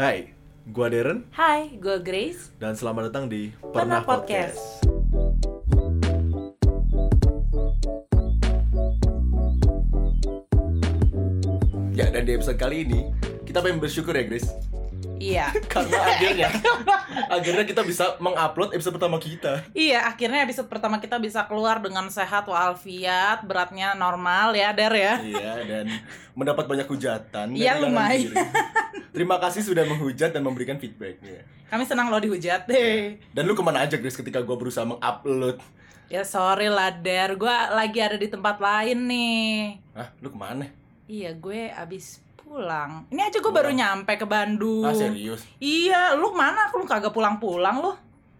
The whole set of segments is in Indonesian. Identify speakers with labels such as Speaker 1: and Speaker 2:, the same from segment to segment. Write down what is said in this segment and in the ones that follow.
Speaker 1: Hai, gua Darren
Speaker 2: Hai, gue Grace.
Speaker 1: dan selamat datang di Pernah,
Speaker 2: Pernah Podcast.
Speaker 1: Podcast. Ya, dan di episode kali ini kita pengen bersyukur ya, Grace.
Speaker 2: Iya.
Speaker 1: Karena akhirnya akhirnya kita bisa mengupload episode pertama kita.
Speaker 2: Iya, akhirnya episode pertama kita bisa keluar dengan sehat walafiat, beratnya normal ya, Der ya.
Speaker 1: Iya, dan mendapat banyak hujatan. dan kehilangan
Speaker 2: Iya, lumayan.
Speaker 1: diri. Terima kasih sudah menghujat dan memberikan feedback. Iya.
Speaker 2: Kami senang lo dihujat deh.
Speaker 1: Dan lu kemana aja, Grace, ketika gua berusaha mengupload?
Speaker 2: Ya sorry lah, Der. Gue lagi ada di tempat lain nih.
Speaker 1: Hah, lu kemana?
Speaker 2: Iya, gue abis pulang. Ini aja gue baru
Speaker 1: Pulang.
Speaker 2: nyampe ke Bandung.
Speaker 1: Ah, serius?
Speaker 2: Iya, lu mana? Lu kagak pulang-pulang lu?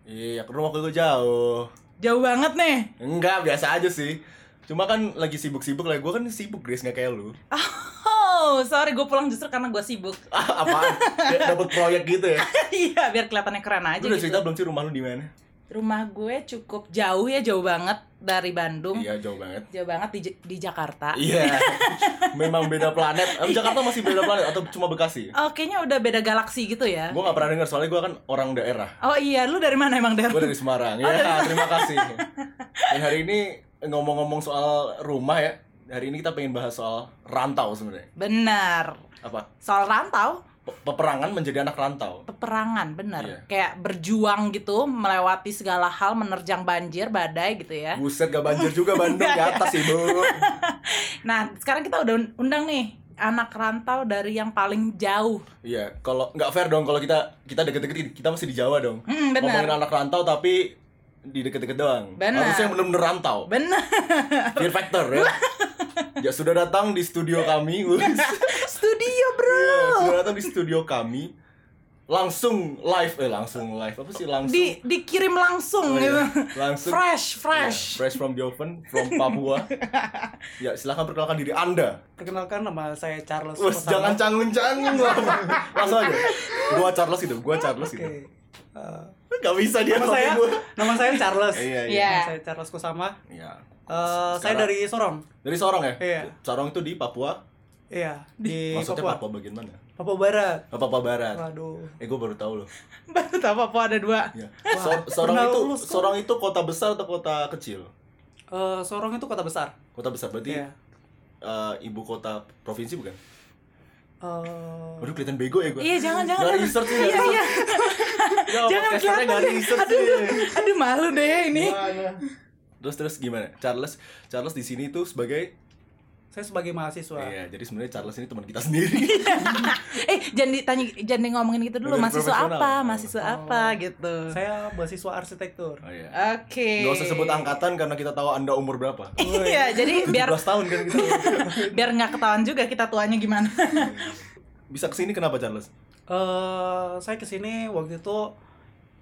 Speaker 1: Iya, ke rumah gue jauh.
Speaker 2: Jauh banget nih.
Speaker 1: Enggak, biasa aja sih. Cuma kan lagi sibuk-sibuk lah, gue kan sibuk Grace, nggak kayak lu
Speaker 2: Oh, sorry gue pulang justru karena gue sibuk.
Speaker 1: ah, Apaan? Kayak Dapet proyek gitu ya
Speaker 2: Iya, biar kelihatannya keren aja
Speaker 1: Lu udah
Speaker 2: gitu.
Speaker 1: cerita belum sih rumah lu di mana?
Speaker 2: Rumah gue cukup jauh ya, jauh banget dari Bandung.
Speaker 1: Iya, jauh banget
Speaker 2: Jauh banget di, di Jakarta.
Speaker 1: Iya, memang beda planet Em, Jakarta masih beda planet atau cuma Bekasi?
Speaker 2: Oh, kayaknya udah beda galaksi gitu ya.
Speaker 1: Gue nggak pernah dengar, soalnya gue kan orang daerah
Speaker 2: Oh iya, lu dari mana emang, Der?
Speaker 1: Gue dari Semarang, ya terima kasih Ya, Hari ini ngomong-ngomong soal rumah ya Hari ini kita pengen bahas soal rantau sebenarnya
Speaker 2: Benar.
Speaker 1: Apa?
Speaker 2: Soal rantau,
Speaker 1: Pe- Peperangan menjadi anak rantau
Speaker 2: peperangan, benar.
Speaker 1: Iya.
Speaker 2: Kayak berjuang gitu, melewati segala hal, menerjang banjir, badai gitu ya.
Speaker 1: Buset gak banjir juga Bandung di atas ibu
Speaker 2: Nah, sekarang kita udah undang nih anak rantau dari yang paling jauh.
Speaker 1: Iya, kalau nggak fair dong kalau kita kita deket-deketin, kita masih di Jawa dong.
Speaker 2: Hmm,
Speaker 1: Ngomongin
Speaker 2: benar.
Speaker 1: anak rantau tapi di deket-deket doang.
Speaker 2: Benar.
Speaker 1: Harusnya yang bener-bener rantau.
Speaker 2: Benar.
Speaker 1: Fear factor ya. ya sudah datang di studio kami. Us.
Speaker 2: Studio, Bro.
Speaker 1: Iya, sudah datang di studio kami. Langsung live eh langsung live. Apa sih langsung?
Speaker 2: Di dikirim
Speaker 1: Oh,
Speaker 2: langsung
Speaker 1: iya.
Speaker 2: gitu.
Speaker 1: Langsung
Speaker 2: Fresh, fresh.
Speaker 1: Iya, fresh from the oven, from Papua. ya, silahkan perkenalkan diri Anda.
Speaker 3: Perkenalkan nama saya Charles
Speaker 1: Us,
Speaker 3: Osama.
Speaker 1: jangan canggung-canggung lah. Langsung aja. Gua Charles gitu, gua Charles
Speaker 3: Oke.
Speaker 1: gitu.
Speaker 3: Eh,
Speaker 1: Gak bisa dia
Speaker 3: nama
Speaker 1: pakai
Speaker 3: saya
Speaker 1: gua.
Speaker 3: nama saya Charles.
Speaker 1: Iya, iya.
Speaker 2: Iya.
Speaker 3: Nama saya Charles Kusama.
Speaker 1: Iya.
Speaker 3: Eh, saya
Speaker 1: Sekarang-
Speaker 3: dari Sorong.
Speaker 1: Dari Sorong ya?
Speaker 3: Iya.
Speaker 1: Sorong itu di Papua.
Speaker 3: Iya, di
Speaker 1: Maksudnya
Speaker 3: Papua.
Speaker 1: Papua bagian mana?
Speaker 3: Papua Barat.
Speaker 1: Oh, Papua Barat.
Speaker 3: Waduh.
Speaker 1: Eh gue baru tahu loh.
Speaker 2: Baru tahu apa ada dua.
Speaker 1: Iya.
Speaker 3: Wah,
Speaker 1: So- Sorong
Speaker 3: pernah
Speaker 1: itu
Speaker 3: lulus kok.
Speaker 1: Sorong itu kota besar atau kota kecil?
Speaker 3: Eh, Sorong itu kota besar.
Speaker 1: Kota besar berarti
Speaker 3: Iya.
Speaker 1: eh, ibu kota provinsi bukan?
Speaker 3: Eh,
Speaker 1: Waduh kelihatan bego ya gue.
Speaker 2: Iya, jangan, jangan,
Speaker 1: Gak
Speaker 2: jangan.
Speaker 1: research sih.
Speaker 2: Iya, iya. Jangan
Speaker 1: Jangan
Speaker 2: kelihatan
Speaker 1: gak
Speaker 2: deh.
Speaker 1: research
Speaker 2: Aduh,
Speaker 1: sih.
Speaker 2: Aduh malu deh ini.
Speaker 1: Gimana? Terus terus gimana? Charles Charles di sini tuh sebagai
Speaker 3: saya sebagai mahasiswa.
Speaker 1: Iya, jadi sebenarnya Charles ini teman kita sendiri.
Speaker 2: Eh, jangan ditanya jangan di ngomongin gitu dulu.
Speaker 1: Lebih
Speaker 2: Mahasiswa
Speaker 1: Iya, profesional.
Speaker 2: apa? Mahasiswa
Speaker 3: Oh.
Speaker 2: apa gitu.
Speaker 3: Saya mahasiswa arsitektur.
Speaker 1: Oh iya.
Speaker 2: Oke.
Speaker 1: Gak usah sebut angkatan karena kita tahu Anda umur berapa.
Speaker 2: Iya, jadi biar
Speaker 1: 17 tahun kan kita.
Speaker 2: biar nggak ketahuan juga kita tuanya gimana.
Speaker 1: Bisa kesini kenapa Charles?
Speaker 3: Eh, saya kesini waktu itu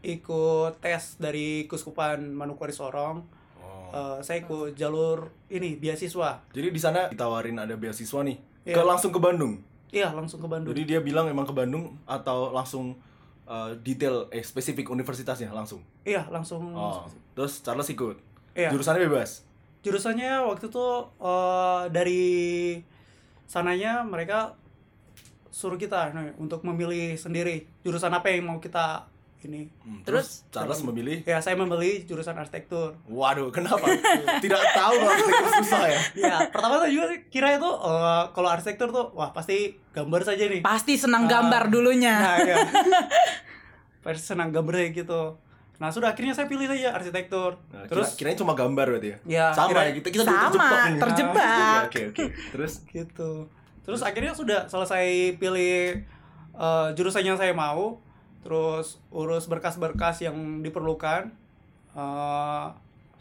Speaker 3: ikut tes dari Kuskupan Manokwari Sorong. Eh, saya ikut jalur ini beasiswa.
Speaker 1: Uh, Jadi di sana ditawarin ada beasiswa nih.
Speaker 3: Iya.
Speaker 1: Ke langsung ke Bandung.
Speaker 3: Iya, langsung ke Bandung.
Speaker 1: Jadi dia bilang emang ke Bandung atau langsung eh, detail eh spesifik universitasnya langsung.
Speaker 3: Iya, langsung.
Speaker 2: Hmm.
Speaker 1: Oh. Terus Charles ikut.
Speaker 3: Iya.
Speaker 1: Jurusannya bebas.
Speaker 3: jurusannya waktu itu eh, dari sananya mereka suruh kita nah, untuk memilih sendiri jurusan apa yang mau kita ini
Speaker 1: Hmm,
Speaker 2: Terus?
Speaker 1: Charles memilih
Speaker 3: ya saya memilih jurusan arsitektur
Speaker 1: Waduh, kenapa? Tidak tahu kalau arsitektur susah ya.
Speaker 3: ya pertama tuh juga kira itu eh, kalau arsitektur tuh wah pasti gambar saja nih
Speaker 2: Pasti senang
Speaker 3: Ah.
Speaker 2: gambar dulunya.
Speaker 3: nah ya pasti senang gambar gitu nah sudah akhirnya saya pilih saja arsitektur
Speaker 1: Nah, kira-
Speaker 3: terus
Speaker 1: kirain cuma gambar berarti ya.
Speaker 3: ya
Speaker 1: Sama
Speaker 3: kira-
Speaker 1: ya kita kita
Speaker 2: Ah, Sama,
Speaker 1: nih. Iya.
Speaker 2: terjebak.
Speaker 1: Oke, oke. Terus
Speaker 3: gitu terus akhirnya sudah selesai pilih eh, jurusan yang saya mau terus urus berkas-berkas yang diperlukan eh,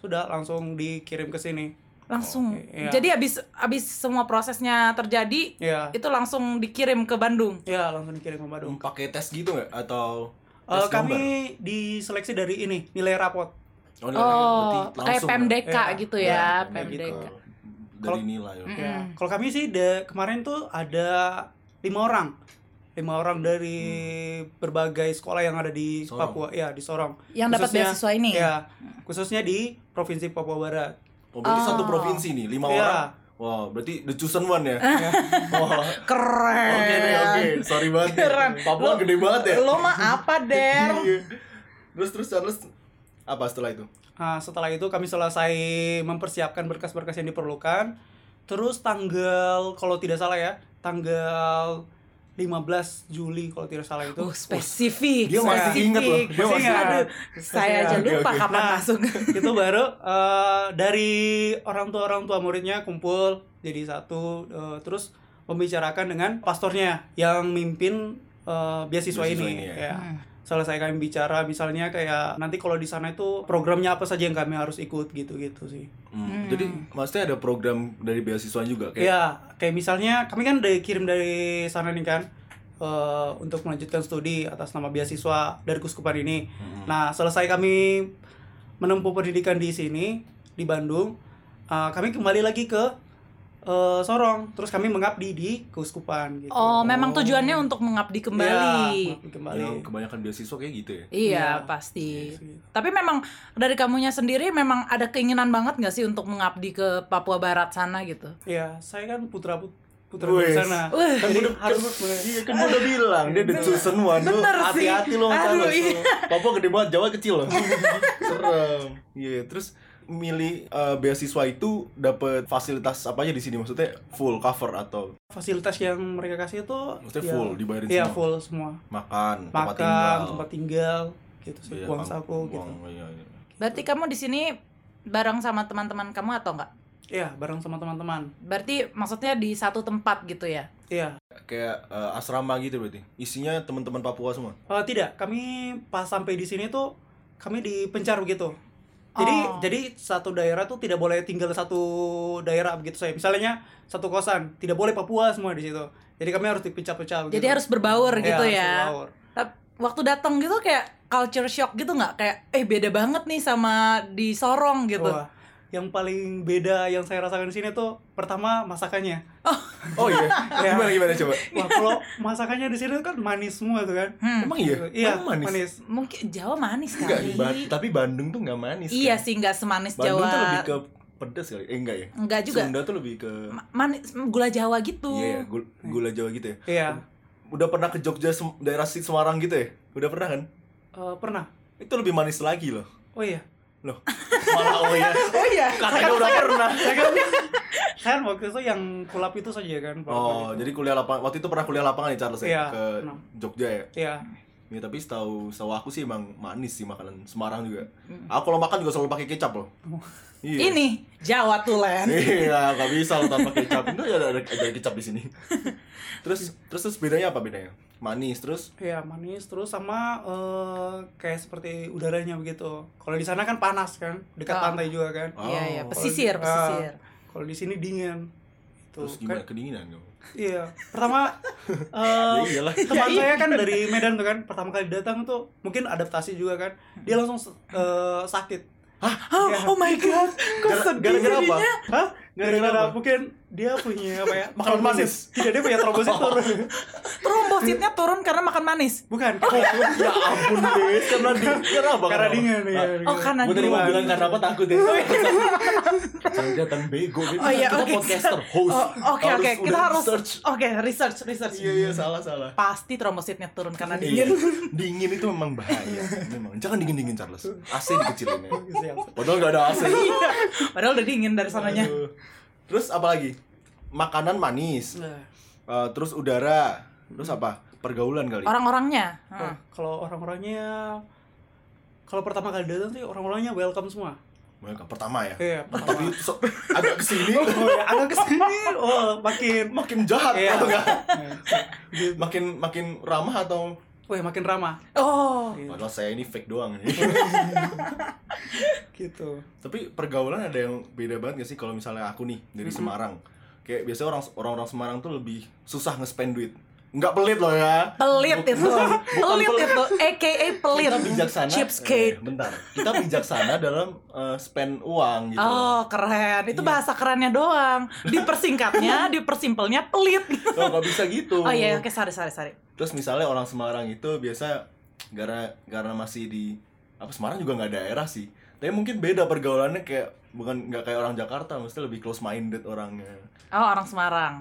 Speaker 3: sudah langsung dikirim ke sini
Speaker 2: Langsung.
Speaker 3: Iya.
Speaker 2: Jadi habis habis semua prosesnya terjadi,
Speaker 3: ya
Speaker 2: itu langsung dikirim ke Bandung.
Speaker 3: ya langsung dikirim ke Bandung
Speaker 1: Hmm, pakai tes gitu nggak atau
Speaker 3: Eh,
Speaker 1: Hmm. tes gambar?
Speaker 3: kami diseleksi dari ini nilai rapot
Speaker 1: Oh, nilai- berarti
Speaker 2: Oh, kayak
Speaker 1: langsung.
Speaker 2: PMDK
Speaker 3: Iya.
Speaker 2: gitu ya,
Speaker 1: kayak
Speaker 2: PMDK.
Speaker 1: gitu. Dari
Speaker 3: Kalau-
Speaker 1: nilai. oke.
Speaker 2: Mm.
Speaker 3: ya kalau kami sih de- kemarin tuh ada lima orang lima orang dari berbagai sekolah yang ada di
Speaker 1: Hmm. Sorong. Iya.
Speaker 3: Papua ya di Sorong
Speaker 2: Yang dapat
Speaker 3: Khususnya-
Speaker 2: beasiswa ini.
Speaker 3: ya khususnya di provinsi Papua Barat
Speaker 1: Oh, berarti
Speaker 2: Oh.
Speaker 1: satu provinsi nih, lima
Speaker 3: Iya.
Speaker 1: orang Wow, berarti the chosen one ya?
Speaker 3: Ya.
Speaker 1: Wow.
Speaker 2: Keren.
Speaker 1: Oke deh, oke. Sorry banget. ya.
Speaker 2: Keren.
Speaker 1: Papua
Speaker 2: Lo-
Speaker 1: gede banget ya.
Speaker 2: Lo mah apa, Der?
Speaker 1: Iya. terus terus Charles apa setelah itu?
Speaker 3: Nah, setelah itu kami selesai mempersiapkan berkas-berkas yang diperlukan. Terus tanggal kalau tidak salah ya, tanggal 15 Juli kalau tidak salah itu.
Speaker 2: Oh, spesifik.
Speaker 1: uh, Dia masih
Speaker 2: spesifik.
Speaker 1: ingat loh. Dia
Speaker 3: masih ingat.
Speaker 2: Aduh, saya aja
Speaker 1: Oke,
Speaker 2: lupa
Speaker 1: oke.
Speaker 2: kapan
Speaker 3: Nah.
Speaker 2: masuk.
Speaker 3: itu baru eh, dari orang tua orang tua muridnya kumpul jadi satu eh, terus membicarakan dengan pastornya yang mimpin eh, beasiswa,
Speaker 1: Beasiswa
Speaker 3: ini,
Speaker 1: ini ya.
Speaker 3: ya.
Speaker 2: Hmm.
Speaker 3: selesai kami bicara misalnya kayak nanti kalau di sana itu programnya apa saja yang kami harus ikut gitu gitu sih
Speaker 1: Hmm. Jadi maksudnya ada program dari beasiswa juga
Speaker 2: Iya.
Speaker 1: kayak.
Speaker 3: ya kayak misalnya kami kan dikirim dari sana nih kan eh, untuk melanjutkan studi atas nama beasiswa dari kuskupan ini
Speaker 1: Hmm.
Speaker 3: Nah, selesai kami menempuh pendidikan di sini di Bandung, eh, kami kembali lagi ke eh, Sorong. Terus kami mengabdi di keuskupan gitu.
Speaker 2: Oh, memang
Speaker 1: Oh.
Speaker 2: tujuannya untuk mengabdi
Speaker 3: Ya,
Speaker 2: kembali.
Speaker 3: mengabdi kembali.
Speaker 1: Yang kebanyakan beasiswa kayak gitu ya.
Speaker 2: Iya,
Speaker 3: Iya.
Speaker 2: pasti.
Speaker 3: Yes, gitu.
Speaker 2: Tapi memang dari kamunya sendiri memang ada keinginan banget nggak sih untuk mengabdi ke Papua Barat sana gitu?
Speaker 3: Iya, saya kan putra put- putra
Speaker 1: Wes.
Speaker 3: di sana.
Speaker 2: Wih.
Speaker 3: Jadi harus
Speaker 1: Iya kan gua udah bilang dia the chosen one Lu
Speaker 2: Bener sih.
Speaker 1: hati-hati lo
Speaker 2: Aduh,
Speaker 1: sama Charles.
Speaker 2: iya.
Speaker 1: Papua gede banget, Jawa kecil loh. Serem. Iya, terus milih eh, beasiswa itu dapat fasilitas apa aja di sini maksudnya full cover atau
Speaker 3: fasilitas yang mereka kasih itu
Speaker 1: maksudnya
Speaker 3: ya,
Speaker 1: full dibayarin
Speaker 3: Iya,
Speaker 1: semua
Speaker 3: full semua.
Speaker 1: makan, tempat
Speaker 3: Makan,
Speaker 1: tinggal
Speaker 3: tempat tinggal, gitu sih,
Speaker 1: Iya,
Speaker 3: uang
Speaker 1: kan,
Speaker 3: saku gitu.
Speaker 1: uang, iya, iya.
Speaker 2: Berarti kamu di sini bareng sama teman-teman kamu atau enggak?
Speaker 3: Iya, bareng sama teman-teman.
Speaker 2: Berarti maksudnya di satu tempat gitu ya?
Speaker 3: Iya.
Speaker 1: kayak eh, asrama gitu berarti isinya teman-teman Papua semua
Speaker 3: Eh, tidak, kami pas sampai di sini tuh kami dipencar begitu. Jadi
Speaker 2: Oh.
Speaker 3: jadi satu daerah tuh tidak boleh tinggal satu daerah begitu saya. Misalnya satu kosan, tidak boleh Papua semua di situ. Jadi kami harus dipencar-pencar begitu. Iya,
Speaker 2: Jadi harus berbaur
Speaker 1: Iya,
Speaker 2: gitu ya.
Speaker 3: harus berbaur.
Speaker 2: Tap- Waktu datang gitu kayak culture shock gitu nggak? Kayak eh beda banget nih sama di Sorong gitu.
Speaker 3: Wah, yang paling beda yang saya rasakan di sini tuh pertama masakannya.
Speaker 1: oh iya
Speaker 3: Iya.
Speaker 1: gimana gimana coba
Speaker 3: Wah, kalau masakannya di sini tuh kan manis semua tuh kan.
Speaker 2: Hmm.
Speaker 1: emang iya
Speaker 3: Iya,
Speaker 1: Emang manis,
Speaker 3: manis.
Speaker 2: Mungkin Jawa manis
Speaker 1: Enggak,
Speaker 2: kali.
Speaker 1: Ba- tapi Bandung tuh nggak manis
Speaker 2: Iya
Speaker 1: kan?
Speaker 2: sih nggak semanis
Speaker 1: Bandung
Speaker 2: Jawa.
Speaker 1: tuh lebih ke pedas kali eh enggak ya
Speaker 2: Enggak juga.
Speaker 1: Sunda tuh lebih ke
Speaker 2: Ma- Manis gula Jawa gitu.
Speaker 1: iya ya, gul- gula Jawa gitu ya
Speaker 3: Iya,
Speaker 1: udah pernah ke Jogja Sem- daerah Sik- Semarang gitu ya udah pernah kan
Speaker 3: Eh, pernah.
Speaker 1: itu lebih manis lagi loh
Speaker 3: Oh iya.
Speaker 1: loh malah oh ya
Speaker 2: Oh iya.
Speaker 1: katanya udah pernah
Speaker 3: Saya kan, saya kan waktu itu yang kulap itu saja kan. kulap
Speaker 1: oh
Speaker 3: itu.
Speaker 1: jadi kuliah lapangan waktu itu pernah kuliah lapangan ya Charles ya
Speaker 3: Iya,
Speaker 1: ke
Speaker 3: pernah.
Speaker 1: Jogja ya
Speaker 3: Iya.
Speaker 1: Ya, tapi setahu setahu aku sih emang manis sih makanan Semarang juga. Aku kalau makan juga selalu pakai kecap loh. Iya.
Speaker 2: Ini Jawa Tulen.
Speaker 1: Iya, nggak bisa lo tanpa kecap. Itu ada, ada, ada kecap di sini. Terus, terus terus bedanya apa bedanya? Manis terus.
Speaker 3: Iya manis terus sama eh, kayak seperti udaranya begitu. Kalau di sana kan panas kan, dekat
Speaker 2: Ah.
Speaker 3: pantai juga kan.
Speaker 1: Oh.
Speaker 2: Iya iya pesisir
Speaker 3: Ah.
Speaker 2: pesisir.
Speaker 3: Kalau di sini dingin. Itu
Speaker 1: Terus gimana
Speaker 3: kan
Speaker 1: kedinginan dong?
Speaker 3: iya. Pertama eh,
Speaker 1: Ya iyalah.
Speaker 3: teman
Speaker 2: Ya, iya.
Speaker 3: saya kan dari Medan tuh kan, pertama kali datang tuh mungkin adaptasi juga kan. Dia langsung eh, sakit.
Speaker 2: Oh,
Speaker 3: Iya.
Speaker 2: oh my god. Kok
Speaker 1: Gara-
Speaker 2: sedih
Speaker 1: gara-gara apa?
Speaker 2: jadinya?
Speaker 3: Hah?
Speaker 1: Gara-gara
Speaker 3: Gara-gara
Speaker 1: apa?
Speaker 3: mungkin dia punya apa ya?
Speaker 1: Makanan
Speaker 3: trombosit. Tidak dia punya trombosit
Speaker 2: Trombositnya turun karena makan manis.
Speaker 3: Bukan. karena-
Speaker 1: ya ampun deh, karena dingin. Karena apa?
Speaker 3: Karena dingin ya.
Speaker 2: Oh karena
Speaker 1: Gue tadi mau
Speaker 2: dingin.
Speaker 1: bilang karena apa takut ya. Jangan kelihatan bego. gitu.
Speaker 2: Oh iya
Speaker 1: kita
Speaker 2: oke.
Speaker 1: podcaster, host.
Speaker 2: Oh, Oke
Speaker 1: Harus
Speaker 2: oke kita
Speaker 1: udah
Speaker 2: harus
Speaker 1: search.
Speaker 2: Oke research research.
Speaker 1: Iya iya salah salah.
Speaker 2: Pasti trombositnya turun karena
Speaker 1: Iya,
Speaker 2: dingin.
Speaker 1: dingin itu memang bahaya. Memang jangan dingin-dingin Charles. AC dikecilin ya.
Speaker 3: Siap.
Speaker 1: Padahal nggak ada AC.
Speaker 2: Padahal udah dingin dari sananya.
Speaker 1: Aduh. Terus apa lagi? Makanan manis.
Speaker 3: Nah.
Speaker 1: Eh, terus udara. Terus apa? Pergaulan kali.
Speaker 2: Orang-orangnya. Hmm.
Speaker 3: Wah, Oh, kalau orang-orangnya kalau pertama kali datang sih orang-orangnya welcome semua.
Speaker 1: Welcome. Pertama ya.
Speaker 3: Iya, pertama.
Speaker 1: Tapi so- agak kesini
Speaker 3: oh, ya, agak kesini, oh makin,
Speaker 1: makin jahat
Speaker 3: Iya.
Speaker 1: atau enggak?
Speaker 3: gitu.
Speaker 1: Makin makin ramah atau
Speaker 3: Wih, iya, makin ramah.
Speaker 2: Oh.
Speaker 3: Iya,
Speaker 1: padahal saya ini fake doang nih.
Speaker 3: gitu.
Speaker 1: Tapi pergaulan ada yang beda banget gak sih kalau misalnya aku nih dari
Speaker 3: Mm-mm.
Speaker 1: Semarang. Kayak biasanya orang orang-orang Semarang tuh lebih susah nge-spend duit. Enggak pelit loh ya.
Speaker 2: Pelit
Speaker 1: Bukan-
Speaker 2: itu. Pelit
Speaker 1: pelit.
Speaker 2: itu aka pelit.
Speaker 1: Kita bijaksana.
Speaker 2: Cheapskate.
Speaker 1: Eh, bentar. Kita bijaksana dalam eh, spend uang gitu.
Speaker 2: Oh keren, itu
Speaker 1: Iya.
Speaker 2: bahasa kerennya doang. Dipersingkatnya, dipersimpelnya pelit.
Speaker 1: Oh, nggak bisa gitu.
Speaker 2: Oh iya, oke sorry sorry sorry.
Speaker 1: Terus misalnya orang Semarang itu biasa gara karena masih di apa Semarang juga nggak daerah sih. Tapi mungkin beda pergaulannya kayak bukan nggak kayak orang Jakarta mesti lebih close minded orangnya
Speaker 2: Oh orang Semarang.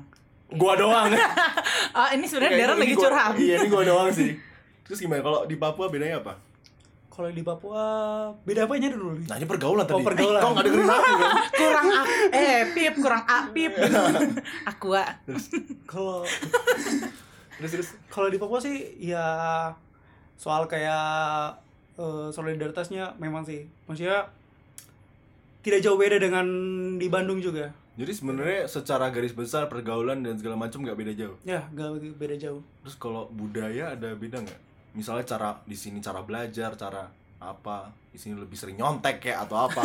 Speaker 1: gua doang
Speaker 2: Oh ini sebenarnya
Speaker 1: Kayak
Speaker 2: Darren
Speaker 1: ini
Speaker 2: lagi
Speaker 1: gua-
Speaker 2: curhat.
Speaker 1: iya ini gua doang sih terus gimana kalau di Papua bedanya apa
Speaker 3: Kalau di Papua beda apanya dulu? nih?
Speaker 1: nanya Nah, pergaulan tadi
Speaker 3: Oh, pergaulan.
Speaker 1: kau nggak dengerin aku kan
Speaker 2: kurang a eh pip kurang a pip
Speaker 1: Iya.
Speaker 2: aku a
Speaker 3: Kalau
Speaker 1: terus terus
Speaker 3: kalau di Papua sih ya soal kayak eh, solidaritasnya memang sih. Maksudnya tidak jauh beda dengan di Bandung juga.
Speaker 1: jadi sebenarnya secara garis besar pergaulan dan segala macam nggak beda jauh
Speaker 3: Ya, nggak beda jauh.
Speaker 1: terus kalau budaya ada beda nggak misalnya cara di sini cara belajar cara apa di sini lebih sering nyontek kayak atau apa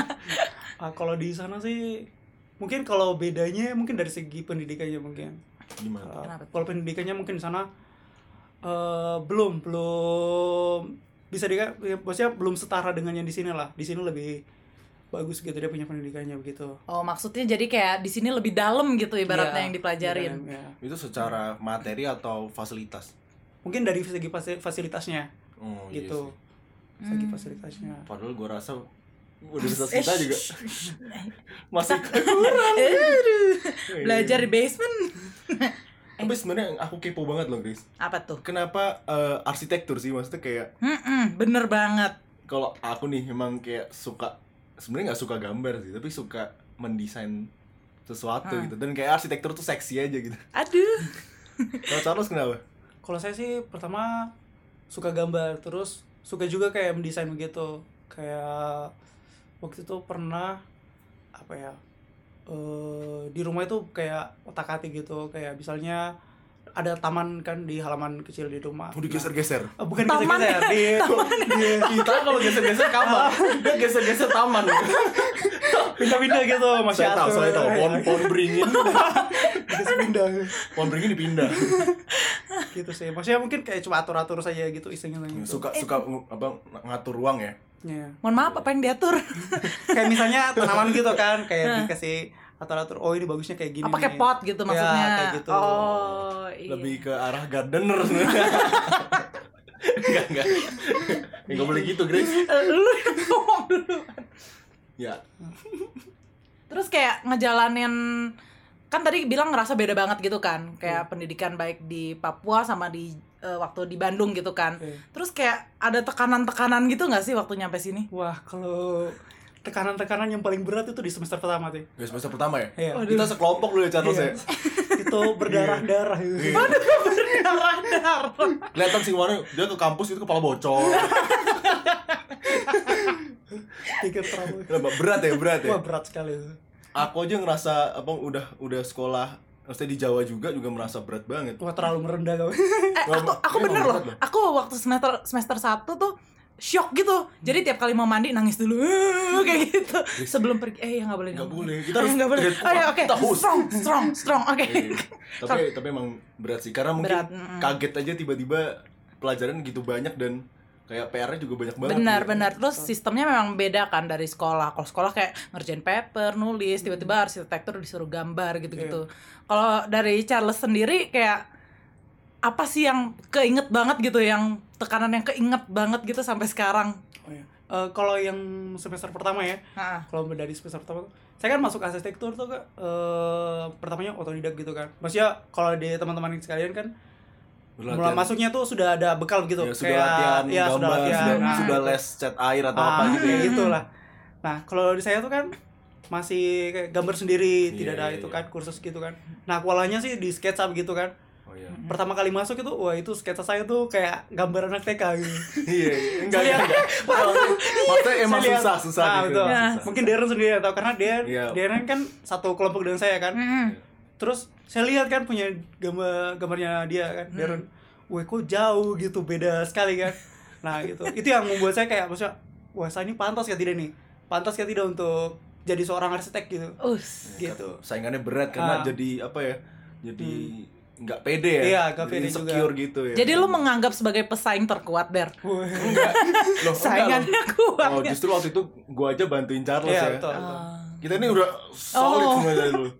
Speaker 3: Ah, kalau di sana sih mungkin kalau bedanya mungkin dari segi pendidikannya mungkin.
Speaker 1: gimana
Speaker 3: Uh,
Speaker 2: Kenapa tuh?
Speaker 3: kalau pendidikannya mungkin di sana eh, belum belum bisa di ya, maksudnya belum setara dengan yang di sini lah di sini lebih bagus gitu dia punya pendidikannya begitu
Speaker 2: oh maksudnya jadi kayak di sini lebih dalam gitu
Speaker 1: Iya.
Speaker 2: ibaratnya
Speaker 3: Ya,
Speaker 2: yang dipelajarin
Speaker 3: ibaratnya, ya.
Speaker 1: itu secara materi atau fasilitas
Speaker 3: mungkin dari segi fasi- fasilitasnya
Speaker 1: oh iya
Speaker 3: gitu
Speaker 1: sih.
Speaker 3: segi
Speaker 2: Hmm.
Speaker 3: fasilitasnya
Speaker 1: padahal gua rasa universitas
Speaker 2: Eh,
Speaker 1: kita juga masih
Speaker 2: Aduh,
Speaker 1: Iya.
Speaker 2: belajar di basement
Speaker 1: tapi sebenarnya yang aku kepo banget loh Chris
Speaker 2: apa tuh
Speaker 1: kenapa eh, arsitektur sih maksudnya kayak
Speaker 2: Mm-mm, bener banget
Speaker 1: kalau aku nih emang kayak suka sebenarnya nggak suka gambar sih tapi suka mendesain sesuatu
Speaker 2: Hmm.
Speaker 1: gitu dan kayak arsitektur tuh seksi aja gitu
Speaker 2: aduh
Speaker 1: kalau Charles kenapa
Speaker 3: kalau saya sih pertama suka gambar terus suka juga kayak mendesain begitu kayak waktu itu pernah apa ya eh, di rumah itu kayak otak atik gitu kayak misalnya ada taman kan di halaman kecil di rumah
Speaker 1: mau digeser-geser
Speaker 3: Nah, eh, bukan
Speaker 2: Taman
Speaker 3: kita
Speaker 2: ya,
Speaker 3: di
Speaker 1: Iya, kita kalau geser-geser kamar dia geser-geser taman
Speaker 3: pindah-pindah gitu masih
Speaker 1: saya tahu
Speaker 3: atur. Iya,
Speaker 1: saya tahu pohon pohon beringin
Speaker 3: pindah
Speaker 1: pohon beringin dipindah
Speaker 3: gitu sih maksudnya mungkin kayak cuma atur-atur saja gitu iseng-iseng
Speaker 1: Iya,
Speaker 3: gitu
Speaker 1: suka suka apa ngatur ruang ya
Speaker 3: Ya.
Speaker 2: mohon maaf apa yang diatur
Speaker 3: kayak misalnya tanaman gitu kan kayak dikasih atur-atur oh ini bagusnya kayak gini
Speaker 2: apa pakai
Speaker 3: nih.
Speaker 2: pot gitu
Speaker 3: Ya,
Speaker 2: maksudnya
Speaker 3: kayak gitu.
Speaker 2: oh iya.
Speaker 1: lebih ke arah gardener sebenarnya enggak enggak enggak boleh gitu Grace
Speaker 2: Eh, Lu ngomong dulu.
Speaker 1: ya
Speaker 2: terus kayak ngejalanin kan tadi bilang ngerasa beda banget gitu kan kayak pendidikan baik di Papua sama di eh, waktu di Bandung gitu kan
Speaker 3: Oke.
Speaker 2: terus kayak ada tekanan-tekanan gitu nggak sih waktu nyampe sini
Speaker 3: Wah, kalau tekanan-tekanan yang paling berat itu di semester pertama tuh.
Speaker 1: Guys, semester pertama ya?
Speaker 3: Iya.
Speaker 1: Kita sekelompok dulu ya, Charles ya.
Speaker 3: Iya. itu berdarah-darah gitu.
Speaker 1: Iya. Kelihatan sih kemarin dia ke kampus itu kepala bocor.
Speaker 3: Tiga trauma.
Speaker 1: Kenapa? berat ya, berat ya.
Speaker 3: Wah, berat sekali itu.
Speaker 1: Aku aja ngerasa apa udah udah sekolah maksudnya di Jawa juga juga merasa berat banget.
Speaker 3: Wah, terlalu merendah kau.
Speaker 2: eh aku aku
Speaker 1: Iya,
Speaker 2: bener
Speaker 1: berat
Speaker 2: loh
Speaker 1: loh.
Speaker 2: aku waktu semester semester satu tuh shock gitu jadi tiap kali mau mandi nangis dulu kayak gitu sebelum pergi eh ya nggak boleh
Speaker 1: Nggak
Speaker 2: dong.
Speaker 1: boleh, kita harus
Speaker 2: nggak boleh
Speaker 1: terlihat
Speaker 2: oh ya
Speaker 1: kuat,
Speaker 2: oke
Speaker 1: kita harus.
Speaker 2: strong strong strong oke
Speaker 1: Iya. tapi tapi emang berat sih karena mungkin
Speaker 2: Berat, Hmm. mm-mm.
Speaker 1: kaget aja tiba-tiba pelajaran gitu banyak dan kayak PR-nya juga banyak banget.
Speaker 2: benar
Speaker 1: gitu.
Speaker 2: benar terus sistemnya memang beda kan dari sekolah kalau sekolah kayak ngerjain paper nulis
Speaker 1: Hmm.
Speaker 2: tiba-tiba arsitektur disuruh gambar gitu-gitu
Speaker 1: Iya.
Speaker 2: kalau dari Charles sendiri kayak apa sih yang keinget banget gitu yang tekanan yang keinget banget gitu sampai sekarang
Speaker 3: Oh, iya. Eh, kalau yang semester pertama ya,
Speaker 2: Heeh.
Speaker 3: kalau dari semester pertama, saya kan masuk arsitektur tuh Kak, eh, pertamanya otodidak gitu kan. Maksudnya kalau di teman-teman sekalian kan mulai
Speaker 1: Berlatihan.
Speaker 3: masuknya tuh sudah ada bekal gitu.
Speaker 1: Ya, sudah latihan
Speaker 3: ya,
Speaker 1: gambar,
Speaker 3: sudah latihan.
Speaker 1: sudah,
Speaker 3: Nah,
Speaker 1: sudah
Speaker 3: gitu.
Speaker 1: les cat air atau
Speaker 3: Ah,
Speaker 1: apa gitu ya.
Speaker 3: kayak gitulah. Nah, kalau di saya tuh kan masih kayak gambar sendiri,
Speaker 1: Iya,
Speaker 3: tidak ada
Speaker 1: iya,
Speaker 3: itu
Speaker 1: iya.
Speaker 3: kan kursus gitu kan. Nah, awalnya sih di SketchUp gitu kan.
Speaker 1: Oh iya.
Speaker 3: Pertama kali masuk itu, wah itu sketsa saya tuh kayak gambar anak TK gitu.
Speaker 1: Iya, enggak enggak. enggak. Maksudnya emang
Speaker 3: Iya, Saya lihat-
Speaker 1: susah, susah
Speaker 3: Nah,
Speaker 1: gitu.
Speaker 3: betul.
Speaker 1: Susah.
Speaker 3: Mungkin Darren sendiri yang tahu karena dia
Speaker 1: Iya.
Speaker 3: Darren kan satu kelompok dengan saya kan.
Speaker 2: Mm-mm.
Speaker 3: Terus saya lihat kan punya gambar gambarnya dia kan,
Speaker 1: Hmm.
Speaker 3: Darren. Wah, kok jauh gitu, beda sekali kan. Nah, gitu. Itu yang membuat saya kayak maksudnya, wah, saya ini pantas ya tidak nih? Pantas ya tidak untuk jadi seorang arsitek gitu.
Speaker 2: us
Speaker 3: gitu.
Speaker 1: saingannya berat karena
Speaker 3: Ah.
Speaker 1: jadi apa ya jadi nggak pede ya
Speaker 3: Iya, nggak
Speaker 1: Jadi
Speaker 3: pede
Speaker 1: insecure gitu ya
Speaker 2: Jadi lu menganggap sebagai pesaing terkuat, Ber.
Speaker 3: Iya,
Speaker 1: Oh,
Speaker 2: Ah.
Speaker 1: enggak loh,
Speaker 2: Saingannya kuat.
Speaker 1: enggak loh. oh justru waktu itu gua aja bantuin Charles
Speaker 3: Iya,
Speaker 1: ya
Speaker 3: betul. betul.
Speaker 2: Ah.
Speaker 1: kita ini udah solid
Speaker 2: Oh.
Speaker 1: semua dari dulu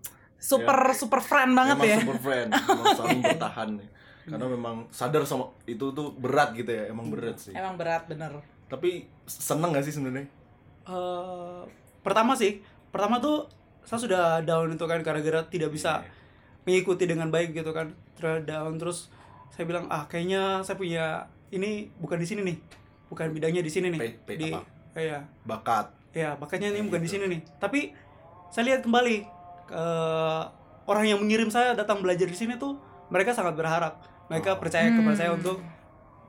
Speaker 2: super super friend banget
Speaker 1: Iya. emang
Speaker 2: ya.
Speaker 1: super friend emang saling bertahan ya. karena memang sadar sama itu tuh berat gitu ya emang berat sih
Speaker 2: Emang berat bener.
Speaker 1: tapi seneng gak sih sebenarnya
Speaker 3: Eh, pertama sih pertama tuh saya sudah down itu kan gara-gara tidak bisa
Speaker 1: Iya,
Speaker 3: mengikuti dengan baik gitu kan terus down terus saya bilang ah kayaknya saya punya ini bukan di sini nih bukan bidangnya di sini nih
Speaker 1: Pe- pe-
Speaker 3: di
Speaker 1: apa?
Speaker 3: iya
Speaker 1: bakat
Speaker 3: Ya, makanya ini bukan di sini nih. Tapi saya lihat kembali ke orang yang mengirim saya datang belajar di sini tuh mereka sangat berharap. Mereka
Speaker 1: Oh.
Speaker 3: percaya kepada saya
Speaker 2: Hmm.
Speaker 3: untuk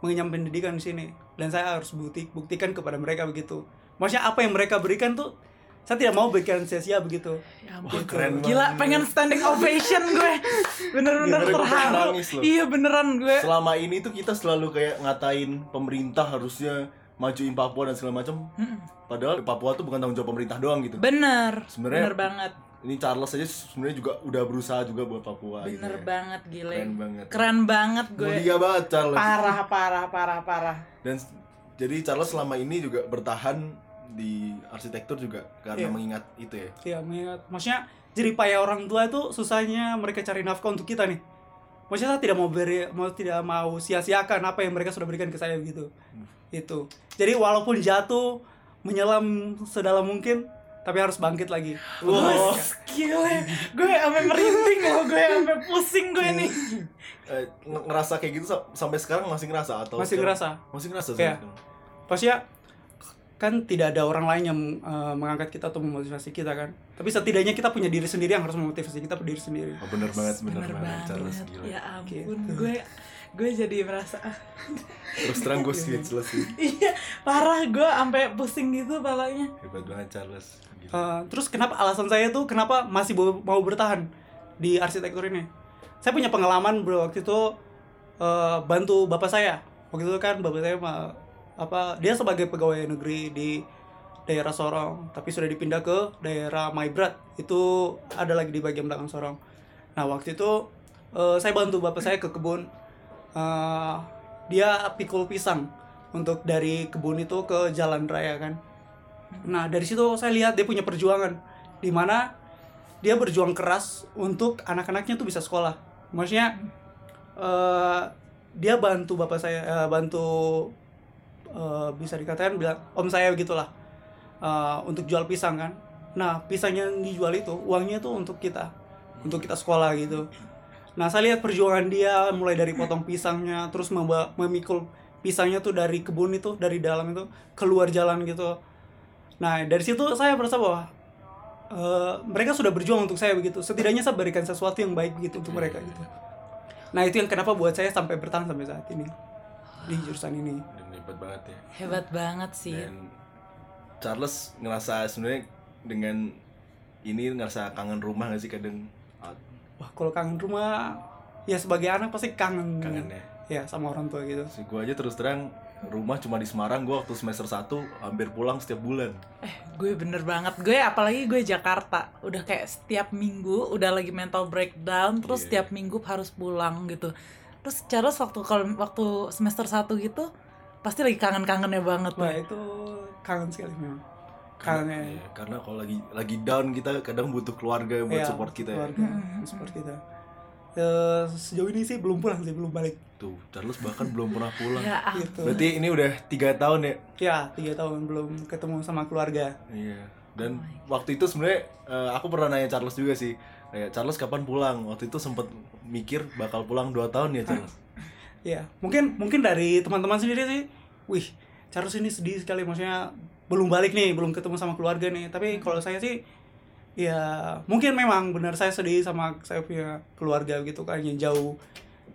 Speaker 3: mengenyam pendidikan di sini dan saya harus bukti buktikan kepada mereka begitu. Maksudnya apa yang mereka berikan tuh saya tidak mau berikan sia-sia begitu.
Speaker 2: Ya ampun.
Speaker 1: keren banget.
Speaker 2: Gila, pengen standing ovation gue. Bener-bener
Speaker 1: Gimana gue
Speaker 2: terharu.
Speaker 1: nangis loh.
Speaker 2: Iya beneran gue.
Speaker 1: selama ini tuh kita selalu kayak ngatain pemerintah harusnya majuin Papua dan segala macam
Speaker 2: Mm-mm.
Speaker 1: padahal Papua tuh bukan tanggung jawab pemerintah doang gitu
Speaker 2: Hmm, Bener.
Speaker 1: Sebenarnya-
Speaker 2: bener banget.
Speaker 1: ini Charles aja sebenarnya juga udah berusaha juga buat Papua gitu
Speaker 2: Bener
Speaker 1: ya.
Speaker 2: banget gile.
Speaker 1: keren banget
Speaker 2: Keren banget gue.
Speaker 1: mulia banget Charles
Speaker 2: Parah, parah, parah, parah.
Speaker 1: dan s- jadi Charles selama ini juga bertahan di arsitektur juga karena
Speaker 3: Iya.
Speaker 1: mengingat itu ya
Speaker 3: Ya, mengingat- maksudnya jeripaya orang tua itu susahnya mereka cari nafkah untuk kita nih. Maksudnya saya tidak mau beri, mau tidak mau sia-siakan apa yang mereka sudah berikan ke saya begitu.
Speaker 2: Hmm.
Speaker 3: Itu. Jadi walaupun jatuh, menyelam sedalam mungkin, tapi harus bangkit lagi.
Speaker 1: Oh.
Speaker 2: Bos, gile. Gue sampai merinding loh, gue sampai pusing gue nih.
Speaker 3: Iya.
Speaker 1: Eh, ng- ngerasa kayak gitu sa- sampai sekarang masih ngerasa atau
Speaker 3: Masih ngerasa.
Speaker 1: masih ngerasa
Speaker 3: Iya.
Speaker 1: sekarang?
Speaker 3: Maksudnya kan tidak ada orang lain yang eh, mengangkat kita atau memotivasi kita kan. Tapi setidaknya kita punya diri sendiri yang harus memotivasi kita diri sendiri.
Speaker 1: Oh, bener banget bener,
Speaker 2: Bener
Speaker 1: banget Charles
Speaker 2: banget.
Speaker 1: gila
Speaker 2: Ya ampun,
Speaker 3: Gitu.
Speaker 2: gue gue jadi merasa ah,
Speaker 1: terus terang gue speechless sih
Speaker 2: iya parah gue sampai pusing gitu palanya
Speaker 1: hebat banget Charles Gila.
Speaker 3: Uh, terus kenapa alasan saya tuh kenapa masih bo- mau bertahan di arsitektur ini? Saya punya pengalaman bro waktu itu uh, bantu bapak saya. Waktu itu kan bapak saya ma- apa dia sebagai pegawai negeri di daerah Sorong, tapi sudah dipindah ke daerah Maibrat. Itu ada lagi di bagian belakang Sorong. Nah waktu itu uh, saya bantu bapak saya ke kebun. Uh, dia pikul pisang untuk dari kebun itu ke jalan raya kan. Nah dari situ saya lihat dia punya perjuangan di mana dia berjuang keras untuk anak-anaknya tuh bisa sekolah. Maksudnya eh, dia bantu bapak saya eh, bantu eh, bisa dikatakan bilang om saya begitulah eh, untuk jual pisang kan. Nah pisang yang dijual itu uangnya tuh untuk kita untuk kita sekolah gitu. Nah saya lihat perjuangan dia mulai dari potong pisangnya terus memba- memikul pisangnya tuh dari kebun itu dari dalam itu keluar jalan gitu. Nah dari situ saya merasa bahwa eh, mereka sudah berjuang untuk saya begitu. Setidaknya saya berikan sesuatu yang baik begitu untuk
Speaker 1: Iya,
Speaker 3: mereka gitu. Nah itu yang kenapa buat saya sampai bertahan sampai saat ini di jurusan ini.
Speaker 1: dan hebat banget ya
Speaker 2: hebat banget sih
Speaker 3: Iya.
Speaker 1: dan Charles ngerasa sebenarnya dengan ini ngerasa kangen rumah gak sih kadang Ah,
Speaker 3: Wah kalau kangen rumah ya sebagai anak pasti kangen.
Speaker 1: kangen ya
Speaker 3: Ya sama orang tua gitu.
Speaker 1: si gue aja terus terang rumah cuma di Semarang gue waktu semester 1 hampir pulang setiap bulan
Speaker 2: eh gue bener banget gue apalagi gue Jakarta udah kayak setiap minggu udah lagi mental breakdown
Speaker 1: Iya.
Speaker 2: terus setiap minggu harus pulang gitu terus Charles waktu kalau waktu semester 1 gitu pasti lagi kangen-kangennya banget
Speaker 3: Wah
Speaker 2: tuh.
Speaker 3: itu kangen sekali memang. Kangen. ya.
Speaker 1: Iya, karena kalau lagi lagi down kita kadang butuh keluarga buat
Speaker 3: Iya,
Speaker 1: support kita ya.
Speaker 3: keluarga,
Speaker 2: Mm-mm.
Speaker 3: support kita. Eh, sejauh ini sih belum pulang sih belum balik.
Speaker 1: tuh Charles bahkan belum pernah pulang
Speaker 2: ya ah,
Speaker 3: Gitu.
Speaker 1: berarti ini udah tiga tahun ya
Speaker 3: Ya tiga tahun belum ketemu sama keluarga.
Speaker 1: Iya. Dan
Speaker 2: Oh my
Speaker 1: waktu itu sebenarnya eh, aku pernah nanya Charles juga sih. Kayak Charles kapan pulang? Waktu itu sempet mikir bakal pulang 2 tahun ya Charles.
Speaker 3: Ya, mungkin mungkin dari teman-teman sendiri sih, wih, Charles ini sedih sekali maksudnya belum balik nih, belum ketemu sama keluarga nih. Tapi kalau saya sih ya mungkin memang benar saya sedih sama saya punya keluarga gitu kan yang jauh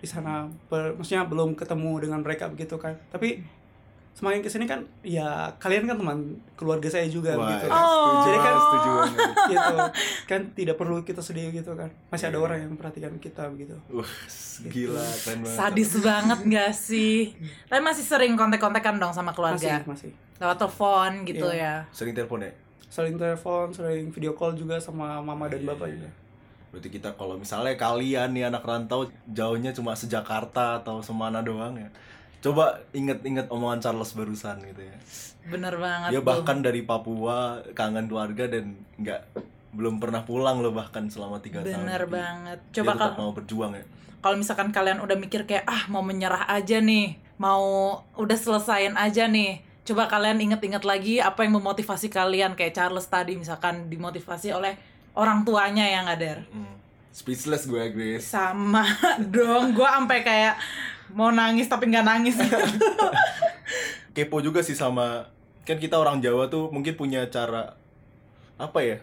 Speaker 3: di sana Ber- maksudnya belum ketemu dengan mereka begitu kan. Tapi semakin kesini kan ya kalian kan teman keluarga saya juga begitu.
Speaker 2: iya. Oh.
Speaker 1: setuju
Speaker 3: Jadi kan-
Speaker 1: banget, setuju banget.
Speaker 3: gitu. Kan tidak perlu kita sedih gitu kan. Masih ada
Speaker 1: Iya.
Speaker 3: orang yang perhatikan kita begitu.
Speaker 1: Wah, gila keren banget.
Speaker 2: sadis banget gak sih tapi masih sering kontak-kontakan dong sama keluarga
Speaker 3: Masih masih
Speaker 2: lewat telepon gitu ya
Speaker 1: Sering telepon ya?
Speaker 3: sering telepon, sering video call juga sama mama
Speaker 1: Iya,
Speaker 3: dan bapak juga.
Speaker 1: Berarti kita kalau misalnya kalian nih anak rantau jauhnya cuma sejakarta atau semana doang ya. Coba inget-inget omongan Charles barusan gitu ya.
Speaker 2: bener
Speaker 1: Dia
Speaker 2: banget tuh.
Speaker 1: Iya, bahkan dari Papua kangen keluarga dan nggak belum pernah pulang loh bahkan selama tiga tahun.
Speaker 2: bener
Speaker 1: Jadi
Speaker 2: banget
Speaker 1: dia
Speaker 2: coba
Speaker 1: Iya, tetap
Speaker 2: kalau
Speaker 1: mau berjuang ya.
Speaker 2: kalau misalkan kalian udah mikir kayak ah mau menyerah aja nih, mau udah selesain aja nih. coba kalian inget-inget lagi apa yang memotivasi kalian kayak Charles tadi misalkan dimotivasi oleh orang tuanya yang ngader
Speaker 1: Hmm. Speechless gue Grace.
Speaker 2: sama dong gue sampai kayak mau nangis tapi nggak nangis
Speaker 1: Kepo juga sih sama kan kita orang Jawa tuh mungkin punya cara apa ya?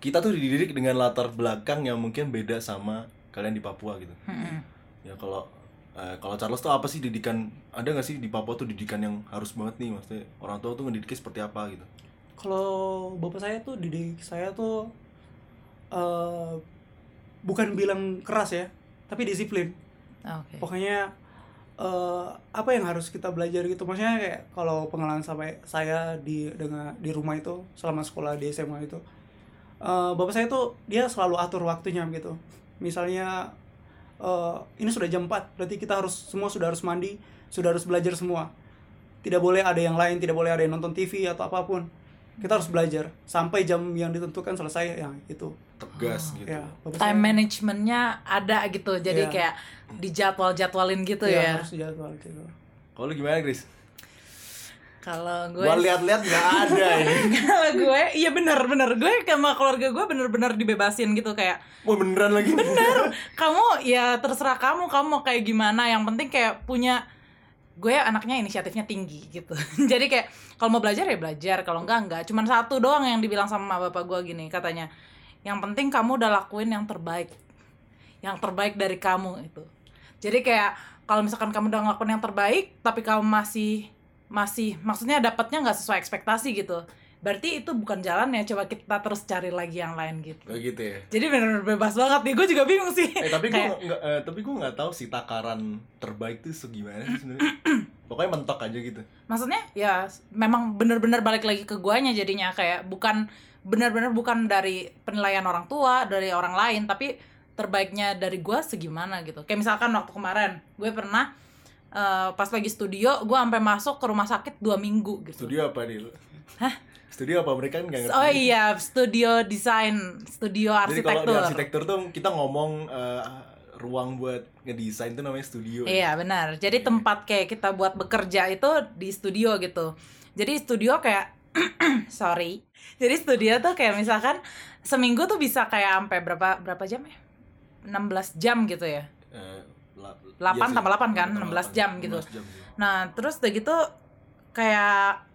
Speaker 1: Kita tuh dididik dengan latar belakang yang mungkin beda sama kalian di Papua gitu.
Speaker 2: Mm-mm.
Speaker 1: Ya kalau eh, kalau Charles tuh apa sih didikan? Ada nggak sih di Papua tuh didikan yang harus banget nih maksudnya orang tua tuh ngedidiknya seperti apa gitu?
Speaker 3: kalau bapak saya tuh didik saya tuh eh bukan bilang keras ya tapi disiplin
Speaker 2: oke
Speaker 3: pokoknya eh, apa yang harus kita belajar gitu maksudnya kayak kalau pengalaman sampai saya di dengan di rumah itu selama sekolah di SMA itu eh, bapak saya tuh dia selalu atur waktunya gitu misalnya eh, ini sudah jam 4 berarti kita harus semua sudah harus mandi sudah harus belajar semua tidak boleh ada yang lain tidak boleh ada yang nonton TV atau apapun kita harus belajar sampai jam yang ditentukan selesai ya itu
Speaker 1: Tegas gitu.
Speaker 3: ya bapak saya-
Speaker 2: time managementnya ada gitu jadi
Speaker 3: Iya.
Speaker 2: kayak dijadwal-jadwalin gitu
Speaker 3: ya,
Speaker 2: ya,
Speaker 3: harus jadwal gitu
Speaker 1: Kalau lu gimana Grace?
Speaker 2: kalau gue
Speaker 1: Gua lihat-lihat nggak ada ini.
Speaker 2: kalau gue iya bener bener gue sama keluarga gue bener-bener dibebasin gitu kayak
Speaker 1: Wah beneran lagi. Bener.
Speaker 2: kamu ya terserah kamu kamu mau kayak gimana yang penting kayak punya gue anaknya inisiatifnya tinggi gitu jadi kayak kalau mau belajar ya belajar kalau enggak enggak cuman satu doang yang dibilang sama bapak gue gini katanya yang penting kamu udah lakuin yang terbaik yang terbaik dari kamu itu jadi kayak kalau misalkan kamu udah ngelakuin yang terbaik tapi kamu masih masih maksudnya dapatnya nggak sesuai ekspektasi gitu berarti itu bukan jalannya coba kita terus cari lagi yang lain gitu
Speaker 1: Gak gitu ya.
Speaker 2: jadi benar-benar bebas banget nih gue juga bingung sih
Speaker 1: Eh tapi gue
Speaker 2: Kayak-
Speaker 1: nggak eh, tapi gue nggak tahu sih takaran terbaik tuh segimana sih sebenarnya. Pokoknya mentok aja gitu.
Speaker 2: maksudnya ya memang benar-benar balik lagi ke guanya jadinya kayak bukan benar-benar bukan dari penilaian orang tua dari orang lain tapi terbaiknya dari gua segimana gitu kayak misalkan waktu kemarin gue pernah eh, pas lagi studio gue sampai masuk ke rumah sakit dua minggu gitu
Speaker 1: Studio apa nih? lu? Studio apa mereka kan nggak ngerti.
Speaker 2: oh iya studio desain studio
Speaker 1: Jadi kalau di
Speaker 2: arsitektur
Speaker 1: arsitektur tuh kita ngomong eh, ruang buat ngedesain tuh namanya studio. ya.
Speaker 2: Iya benar. Jadi tempat kayak kita buat bekerja itu di studio gitu. Jadi studio kayak sorry. Jadi studio tuh kayak misalkan seminggu tuh bisa kayak sampai berapa berapa jam ya? 16 jam gitu ya.
Speaker 1: Eh, la- iya
Speaker 2: Lapan
Speaker 1: sih.
Speaker 2: tambah lapan kan?
Speaker 1: Tambah
Speaker 2: 16
Speaker 1: lapan.
Speaker 2: jam gitu.
Speaker 1: 16 jam, iya.
Speaker 2: Nah, terus udah gitu kayak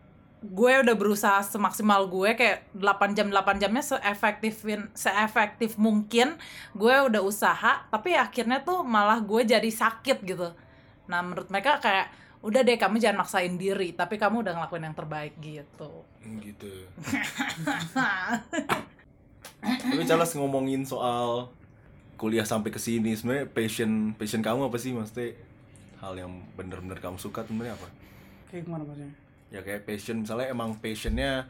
Speaker 2: gue udah berusaha semaksimal gue kayak 8 jam 8 jamnya seefektifin seefektif mungkin gue udah usaha tapi akhirnya tuh malah gue jadi sakit gitu. Nah, menurut mereka kayak udah deh kamu jangan maksain diri tapi kamu udah ngelakuin yang terbaik gitu.
Speaker 1: Hmm, Gitu. Tapi Charles ngomongin soal kuliah sampai ke sini sebenarnya passion passion kamu apa sih maksudnya hal yang bener-bener kamu suka tuh sebenarnya apa?
Speaker 3: kayak gimana maksudnya
Speaker 1: ya kayak passion misalnya emang passionnya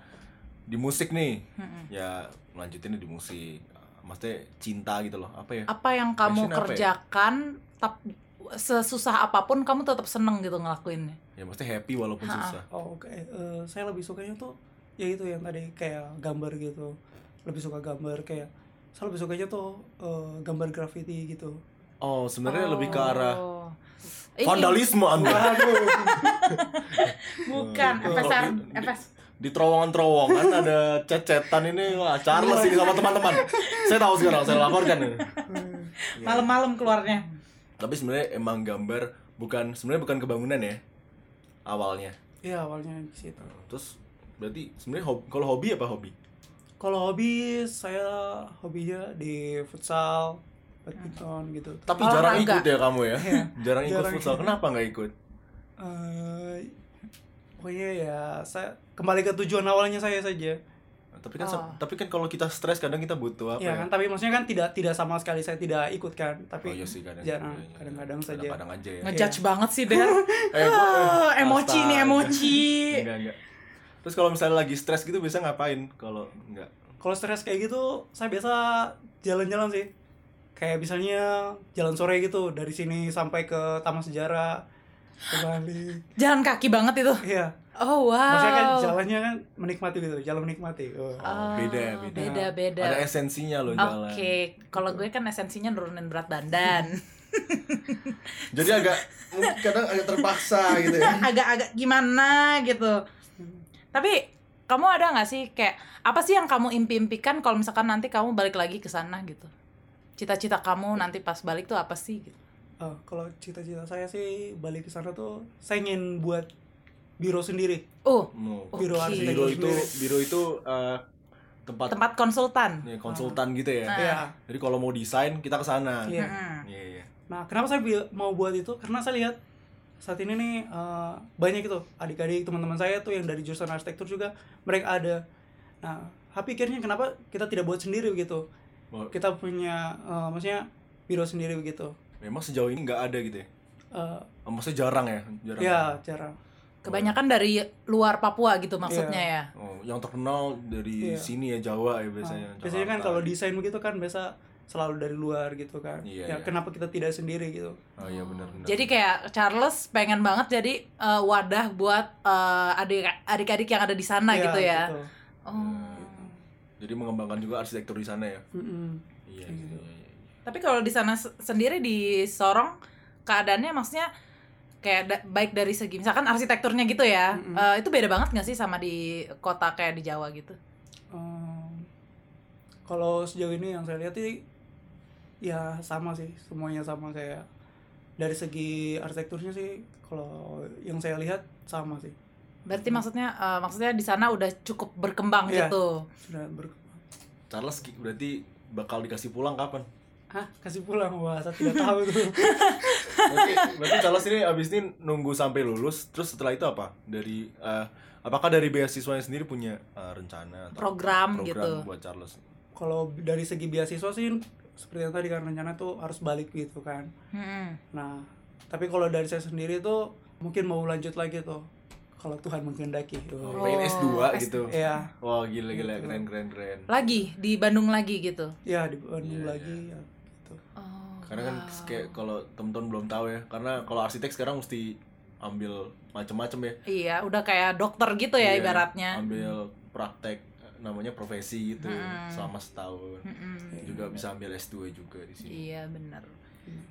Speaker 1: di musik nih
Speaker 2: Mm-mm.
Speaker 1: ya lanjutinnya di musik maksudnya cinta gitu loh apa ya
Speaker 2: Apa yang
Speaker 1: Passion apa
Speaker 2: kamu
Speaker 1: ya?
Speaker 2: kerjakan tap- sesusah apapun kamu tetap seneng gitu ngelakuinnya.
Speaker 1: ya maksudnya happy walaupun
Speaker 2: Ha-ha.
Speaker 1: susah
Speaker 3: Oh, oke. Eh, saya lebih sukanya tuh ya itu yang tadi kayak gambar gitu. Lebih suka gambar kayak saya lebih sukanya tuh eh, gambar graffiti gitu.
Speaker 1: oh sebenarnya lebih ke arah
Speaker 2: Oh. Ini-
Speaker 1: vandalisme anda
Speaker 2: Bukan,
Speaker 1: Gitu.
Speaker 2: FSR,
Speaker 1: Kalau di-
Speaker 2: FS.
Speaker 1: di terowongan-terowongan ada cecetan ini wah Charles ini sama teman-teman saya tahu sekarang saya laporkan ini. Iya.
Speaker 2: Malam-malam keluarnya.
Speaker 1: tapi sebenarnya emang gambar bukan sebenarnya bukan kebangunan ya awalnya
Speaker 3: Iya, awalnya di situ.
Speaker 1: terus berarti sebenarnya hobi, kalau hobi apa hobi
Speaker 3: Kalau hobi saya hobinya di futsal, badminton gitu.
Speaker 1: tapi
Speaker 2: Olahraga.
Speaker 1: jarang ikut ya kamu ya
Speaker 3: Iya.
Speaker 1: jarang ikut
Speaker 3: Jarang
Speaker 1: futsal
Speaker 3: ikut.
Speaker 1: kenapa nggak ikut
Speaker 3: Eh, pokoknya ya saya kembali ke tujuan awalnya saya saja.
Speaker 1: tapi kan
Speaker 2: Oh.
Speaker 1: tapi kan kalau kita stres kadang kita butuh apa ya,
Speaker 3: ya kan, tapi maksudnya kan tidak tidak sama sekali saya tidak ikut kan, tapi
Speaker 1: oh iya sih kadang
Speaker 3: jarang,
Speaker 1: iya, iya.
Speaker 3: kadang-kadang saja.
Speaker 1: kadang-kadang aja ya
Speaker 2: Ngejudge banget sih, Den.
Speaker 1: Eh, gua- eh,
Speaker 2: Ah, emoji nih,
Speaker 1: astaga.
Speaker 2: emoji.
Speaker 1: enggak enggak terus kalau misalnya lagi stres gitu bisa ngapain kalau enggak
Speaker 3: kalau stres kayak gitu saya biasa jalan-jalan sih kayak misalnya jalan sore gitu dari sini sampai ke taman sejarah ke Bali
Speaker 2: Jalan kaki banget itu.
Speaker 3: iya
Speaker 2: Oh, wow. Ah,
Speaker 3: maksudnya kan jalannya kan menikmati gitu jalan menikmati Oh.
Speaker 1: Oh, beda ya, beda.
Speaker 2: Beda, beda.
Speaker 1: ada esensinya loh
Speaker 2: Oke,
Speaker 1: jalan Gitu.
Speaker 2: kalau gue kan esensinya nurunin berat badan.
Speaker 1: jadi agak mungkin kadang agak terpaksa gitu ya
Speaker 2: agak-agak gimana gitu. Tapi kamu ada nggak sih kayak apa sih yang kamu impi-impikan kalau misalkan nanti kamu balik lagi ke sana gitu? Cita-cita kamu nanti pas balik tuh apa sih? Gitu.
Speaker 3: Eh, kalau cita-cita saya sih balik ke sana tuh saya ingin buat biro sendiri
Speaker 2: Oh,
Speaker 1: No.
Speaker 2: Oke.
Speaker 3: biro arsitek
Speaker 1: biro itu biro itu eh, tempat,
Speaker 2: tempat Ah. konsultan.
Speaker 1: ya, konsultan gitu ya
Speaker 3: ya
Speaker 1: jadi kalau mau desain kita ke sana
Speaker 3: Iya.
Speaker 2: Mm-mm.
Speaker 1: Iya, iya.
Speaker 3: Nah, kenapa saya bi- mau buat itu? Karena saya lihat saat ini nih eh, banyak itu adik-adik teman-teman saya tuh yang dari jurusan arsitektur juga mereka ada. Nah, hal pikirnya kenapa kita tidak buat sendiri begitu?
Speaker 1: Bahwa
Speaker 3: Kita punya, eh, maksudnya biro sendiri begitu.
Speaker 1: memang sejauh ini nggak ada gitu ya
Speaker 3: Eh,
Speaker 1: Eh, maksudnya jarang ya jarang
Speaker 3: ya jarang.
Speaker 2: Kebanyakan dari luar Papua gitu maksudnya ya.
Speaker 1: Oh, yang terkenal dari
Speaker 3: Iya.
Speaker 1: sini ya Jawa ya biasanya.
Speaker 3: Eh, biasanya kan
Speaker 1: Jakarta.
Speaker 3: kalau desain begitu kan biasa selalu dari luar gitu kan.
Speaker 1: Iya,
Speaker 3: ya
Speaker 1: iya.
Speaker 3: kenapa kita tidak sendiri gitu?
Speaker 1: Oh iya benar benar.
Speaker 2: Jadi kayak Charles pengen banget jadi eh, wadah buat eh, adik adik-adik yang ada di sana
Speaker 3: Iya,
Speaker 2: gitu ya.
Speaker 3: betul.
Speaker 2: Oh.
Speaker 1: Jadi mengembangkan juga arsitektur di sana ya.
Speaker 3: Mm-mm.
Speaker 1: Iya. iya,
Speaker 3: Kayak gitu.
Speaker 1: iya, iya.
Speaker 2: Tapi kalau di sana se- sendiri di Sorong keadaannya maksudnya kayak da- baik dari segi misalkan arsitekturnya gitu ya.
Speaker 3: Mm-mm.
Speaker 2: eh, itu beda banget nggak sih sama di kota kayak di Jawa gitu?
Speaker 3: Ehm, kalau sejauh ini yang saya lihat sih ya sama sih semuanya sama kayak dari segi arsitekturnya sih kalau yang saya lihat sama sih
Speaker 2: Berarti maksudnya eh, maksudnya di sana udah cukup berkembang
Speaker 3: Iya.
Speaker 2: gitu.
Speaker 3: sudah berkembang
Speaker 1: Charles ki- berarti bakal dikasih pulang kapan?
Speaker 3: Hah kasih pulang wah saya tidak tahu tuh
Speaker 1: Berarti, berarti Charles ini abis ini nunggu sampai lulus, terus setelah itu apa? Dari eh, apakah dari beasiswanya sendiri punya eh, rencana atau program
Speaker 2: Program gitu.
Speaker 1: buat Charles?
Speaker 3: kalau dari segi beasiswa sih seperti yang tadi kan rencana tuh harus balik gitu kan
Speaker 2: Mm-mm.
Speaker 3: nah tapi kalau dari saya sendiri tuh mungkin mau lanjut lagi tuh kalau Tuhan menghendaki
Speaker 1: Oh,
Speaker 3: tuh
Speaker 1: pengen
Speaker 2: Oh,
Speaker 1: S2
Speaker 2: S-
Speaker 1: gitu.
Speaker 3: ya
Speaker 1: Wah, gila gila
Speaker 3: Gitu.
Speaker 1: keren keren keren.
Speaker 2: Lagi di Bandung lagi gitu.
Speaker 3: ya di Bandung
Speaker 1: Iya,
Speaker 3: lagi ya gitu
Speaker 2: Oh,
Speaker 1: Karena kan
Speaker 2: wow.
Speaker 1: kayak kalau temen-temen belum tahu ya, karena kalau arsitek sekarang mesti ambil macem-macem ya.
Speaker 2: Iya, udah kayak dokter gitu ya
Speaker 1: Iya,
Speaker 2: ibaratnya.
Speaker 1: Ambil praktek eh, namanya profesi gitu
Speaker 2: Mm-mm.
Speaker 1: selama setahun.
Speaker 2: Mm-mm.
Speaker 1: Juga bisa ambil S2 juga di sini.
Speaker 2: Iya bener.
Speaker 3: Hmm.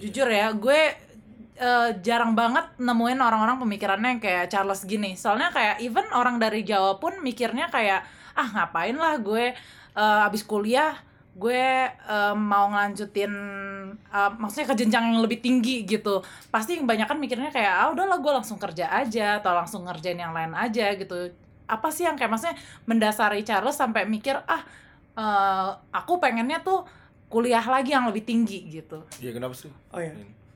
Speaker 2: Jujur ya, gue eh, jarang banget nemuin orang-orang pemikirannya yang kayak Charles gini. Soalnya kayak even orang dari Jawa pun mikirnya kayak ah ngapain lah gue eh, abis kuliah gue eh, mau ngelanjutin eh, maksudnya ke jenjang yang lebih tinggi gitu. Pasti kebanyakan mikirnya kayak ah udahlah gue langsung kerja aja atau langsung ngerjain yang lain aja gitu. Apa sih yang kayak maksudnya mendasari Charles sampai mikir ah eh, aku pengennya tuh kuliah lagi yang lebih tinggi gitu.
Speaker 1: Iya, kenapa sih?
Speaker 3: oh ya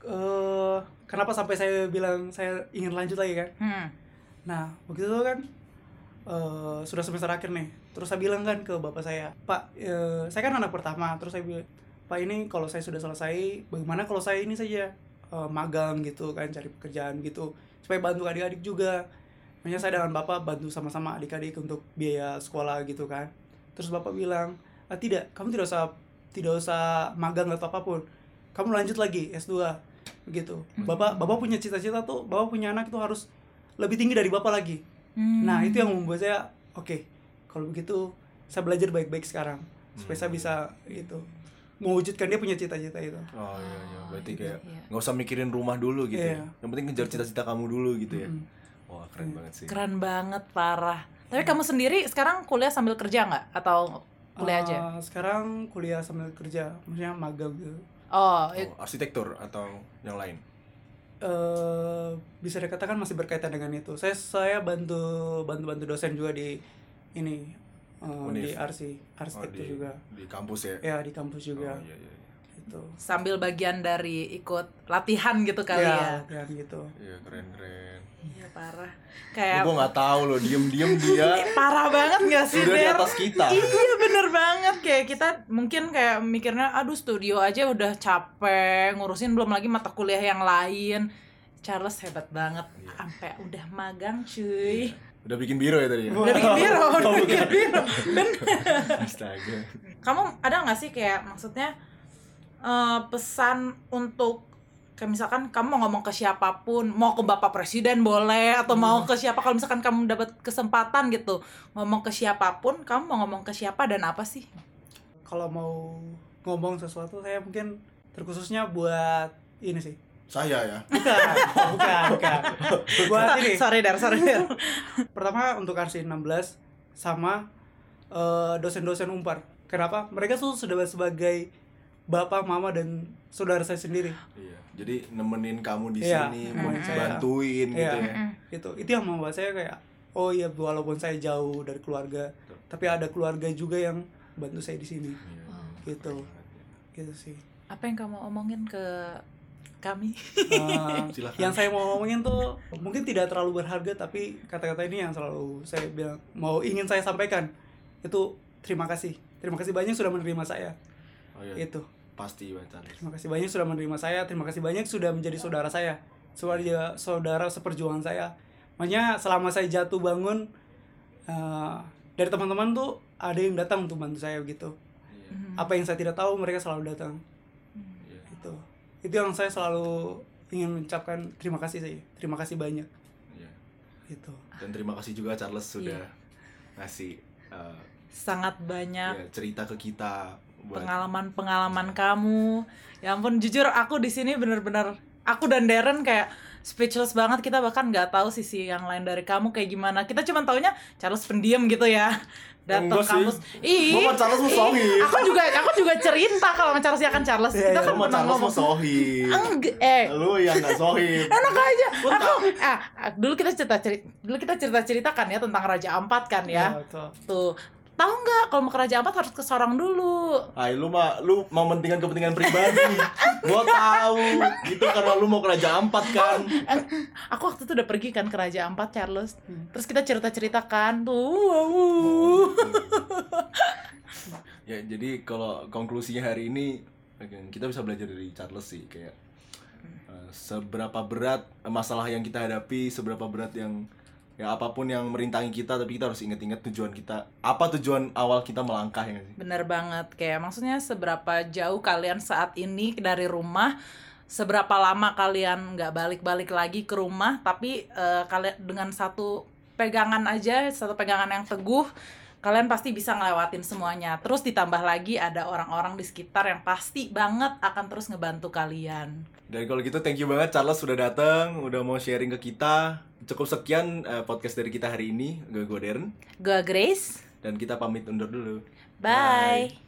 Speaker 3: eh kenapa sampai saya bilang saya ingin lanjut lagi kan?
Speaker 2: Hmm.
Speaker 3: Nah, begitu tuh kan eh sudah semester akhir nih. Terus saya bilang kan ke bapak saya, "Pak, eh, saya kan anak pertama." Terus saya bilang, "Pak, ini kalau saya sudah selesai, bagaimana kalau saya ini saja eh, magang gitu kan, cari pekerjaan gitu supaya bantu adik-adik juga." Makanya saya dengan bapak bantu sama-sama adik-adik untuk biaya sekolah gitu kan. Terus bapak bilang, "Ah, tidak, kamu tidak usah tidak usah magang atau apapun. Kamu lanjut lagi S2." Begitu. Bapak bapak punya cita-cita tuh, bapak punya anak itu harus lebih tinggi dari bapak lagi. Nah,
Speaker 1: Hmm.
Speaker 3: itu yang membuat saya oke. kalau begitu saya belajar baik-baik sekarang supaya
Speaker 1: Hmm.
Speaker 3: saya bisa itu mewujudkan dia punya cita-cita itu.
Speaker 1: Oh iya iya, berarti
Speaker 3: Gitu.
Speaker 1: kayak
Speaker 2: Iya.
Speaker 1: nggak usah mikirin rumah dulu gitu ya.
Speaker 3: Iya.
Speaker 1: Yang penting ngejar cita-cita kamu dulu gitu ya.
Speaker 3: Mm.
Speaker 1: Wah, keren banget sih.
Speaker 2: Keren banget parah. Tapi kamu sendiri sekarang kuliah sambil kerja nggak atau kuliah aja?
Speaker 1: Ah.
Speaker 3: Eh, sekarang kuliah sambil kerja, maksudnya magang gitu.
Speaker 2: Oh, i-
Speaker 1: Oh, arsitektur atau yang lain?
Speaker 3: Eh, bisa dikatakan masih berkaitan dengan itu. Saya saya bantu bantu bantu dosen juga di ini eh,
Speaker 1: Univ.
Speaker 3: di RC
Speaker 1: Oh,
Speaker 3: arsitektur
Speaker 1: di,
Speaker 3: juga.
Speaker 1: di kampus ya.
Speaker 3: Ya di kampus juga
Speaker 1: Oh, iya, iya, iya.
Speaker 3: gitu.
Speaker 2: sambil bagian dari ikut latihan gitu kali
Speaker 3: ya,
Speaker 2: ya.
Speaker 3: latihan gitu.
Speaker 1: Iya, keren-keren.
Speaker 2: Iya parah.
Speaker 1: Gue
Speaker 2: Kayak
Speaker 1: gua nggak tahu loh, diem-diem dia
Speaker 2: parah banget nggak sih
Speaker 1: udah di
Speaker 2: Der?
Speaker 1: atas kita.
Speaker 2: Iya bener banget kayak kita mungkin kayak mikirnya aduh studio aja udah capek ngurusin belum lagi mata kuliah yang lain. Charles hebat banget
Speaker 1: Iya.
Speaker 2: sampai udah magang cuy.
Speaker 1: Udah bikin biro ya tadi ya?
Speaker 2: Udah bikin biro, udah bikin biro.
Speaker 1: Astaga.
Speaker 2: kamu ada nggak sih kayak maksudnya eh, pesan untuk kayak misalkan kamu mau ngomong ke siapapun mau ke bapak presiden boleh atau mau
Speaker 3: Hmm.
Speaker 2: ke siapa kalau misalkan kamu dapat kesempatan gitu ngomong ke siapapun kamu mau ngomong ke siapa dan apa sih
Speaker 3: kalau mau ngomong sesuatu saya mungkin terkhususnya buat ini sih
Speaker 1: Saya ya.
Speaker 3: bukan bukan bukan buat ini
Speaker 2: sorry dar sorry dar
Speaker 3: pertama untuk RC 16 sama eh, dosen-dosen umpar kenapa mereka tuh sudah sebagai bapak mama dan saudara saya sendiri
Speaker 1: Iya. Jadi nemenin kamu di
Speaker 3: Iya.
Speaker 1: sini, mau
Speaker 2: Mm-mm.
Speaker 1: bantuin gitu
Speaker 3: Iya.
Speaker 1: ya.
Speaker 3: itu itu yang membuat saya kayak oh iya walaupun saya jauh dari keluarga tapi ada keluarga juga yang bantu saya di sini
Speaker 1: Iya.
Speaker 3: gitu gitu sih
Speaker 2: apa yang kamu omongin ke kami
Speaker 3: Eh,
Speaker 1: Silakan.
Speaker 3: yang saya mau ngomongin tuh mungkin tidak terlalu berharga tapi kata-kata ini yang selalu saya bilang mau ingin saya sampaikan itu terima kasih terima kasih banyak sudah menerima saya
Speaker 1: Oh, iya.
Speaker 3: itu
Speaker 1: Pasti Bang Charles.
Speaker 2: Mm.
Speaker 3: terima kasih banyak sudah menerima saya terima kasih banyak sudah menjadi saudara saya saudara saudara seperjuangan saya makanya selama saya jatuh bangun eh, dari teman-teman tuh ada yang datang untuk bantu saya gitu
Speaker 1: Iya.
Speaker 2: Hmm.
Speaker 3: apa yang saya tidak tahu mereka selalu datang
Speaker 1: Iya.
Speaker 3: itu itu yang saya selalu ingin mengucapkan terima kasih sih terima kasih banyak
Speaker 1: Iya.
Speaker 3: gitu
Speaker 1: Dan terima kasih juga Charles
Speaker 2: Iya.
Speaker 1: sudah ngasih eh,
Speaker 2: sangat banyak
Speaker 1: ya, cerita ke kita buat
Speaker 2: pengalaman-pengalaman kamu. Ya ampun, jujur aku di sini bener-bener aku dan Darren kayak speechless banget. Kita bahkan nggak tahu sisi yang lain dari kamu kayak gimana. Kita cuma taunya Charles pendiam gitu ya. Datang
Speaker 1: Enggak sih.
Speaker 2: kampus. Ih.
Speaker 1: Mama Charles mau
Speaker 2: ih,
Speaker 1: sohib.
Speaker 2: Aku juga aku juga cerita kalau sama Charles ya kan Charles.
Speaker 3: Iya,
Speaker 2: Kita
Speaker 3: iya,
Speaker 2: kan
Speaker 1: Sama
Speaker 2: pernah
Speaker 1: Charles mau
Speaker 2: ngomong.
Speaker 1: sohib.
Speaker 2: Enggak, eh
Speaker 1: Lu yang gak sohib.
Speaker 2: enak aja aku ah dulu kita cerita cerita dulu kita cerita ceritakan ya tentang Raja Ampat kan
Speaker 1: Iya.
Speaker 2: ya
Speaker 3: betul.
Speaker 2: tuh tahu nggak kalau mau ke Raja Ampat harus ke Sorong dulu
Speaker 1: Hai lu mah lu mementingkan kepentingan pribadi. gua tahu. Itu karena lu mau kerajaan empat kan.
Speaker 2: Eh, aku waktu itu udah pergi kan ke Raja Ampat Charles terus kita cerita ceritakan tuh wow, wow.
Speaker 1: ya jadi kalau konklusinya hari ini kita bisa belajar dari Charles sih kayak eh, seberapa berat masalah yang kita hadapi, seberapa berat yang ya apapun yang merintangi kita tapi kita harus ingat-ingat tujuan kita. Apa tujuan awal kita melangkah ya nggak sih?
Speaker 2: bener banget kayak maksudnya seberapa jauh kalian saat ini dari rumah seberapa lama kalian nggak balik-balik lagi ke rumah tapi eh, kalian dengan satu pegangan aja satu pegangan yang teguh kalian pasti bisa ngelewatin semuanya terus ditambah lagi ada orang-orang di sekitar yang pasti banget akan terus ngebantu kalian
Speaker 1: Dan kalau gitu thank you banget Charles sudah datang, udah mau sharing ke kita. Cukup sekian eh, podcast dari kita hari ini. Gue gue Darren
Speaker 2: gue Grace
Speaker 1: dan kita pamit undur dulu.
Speaker 2: bye.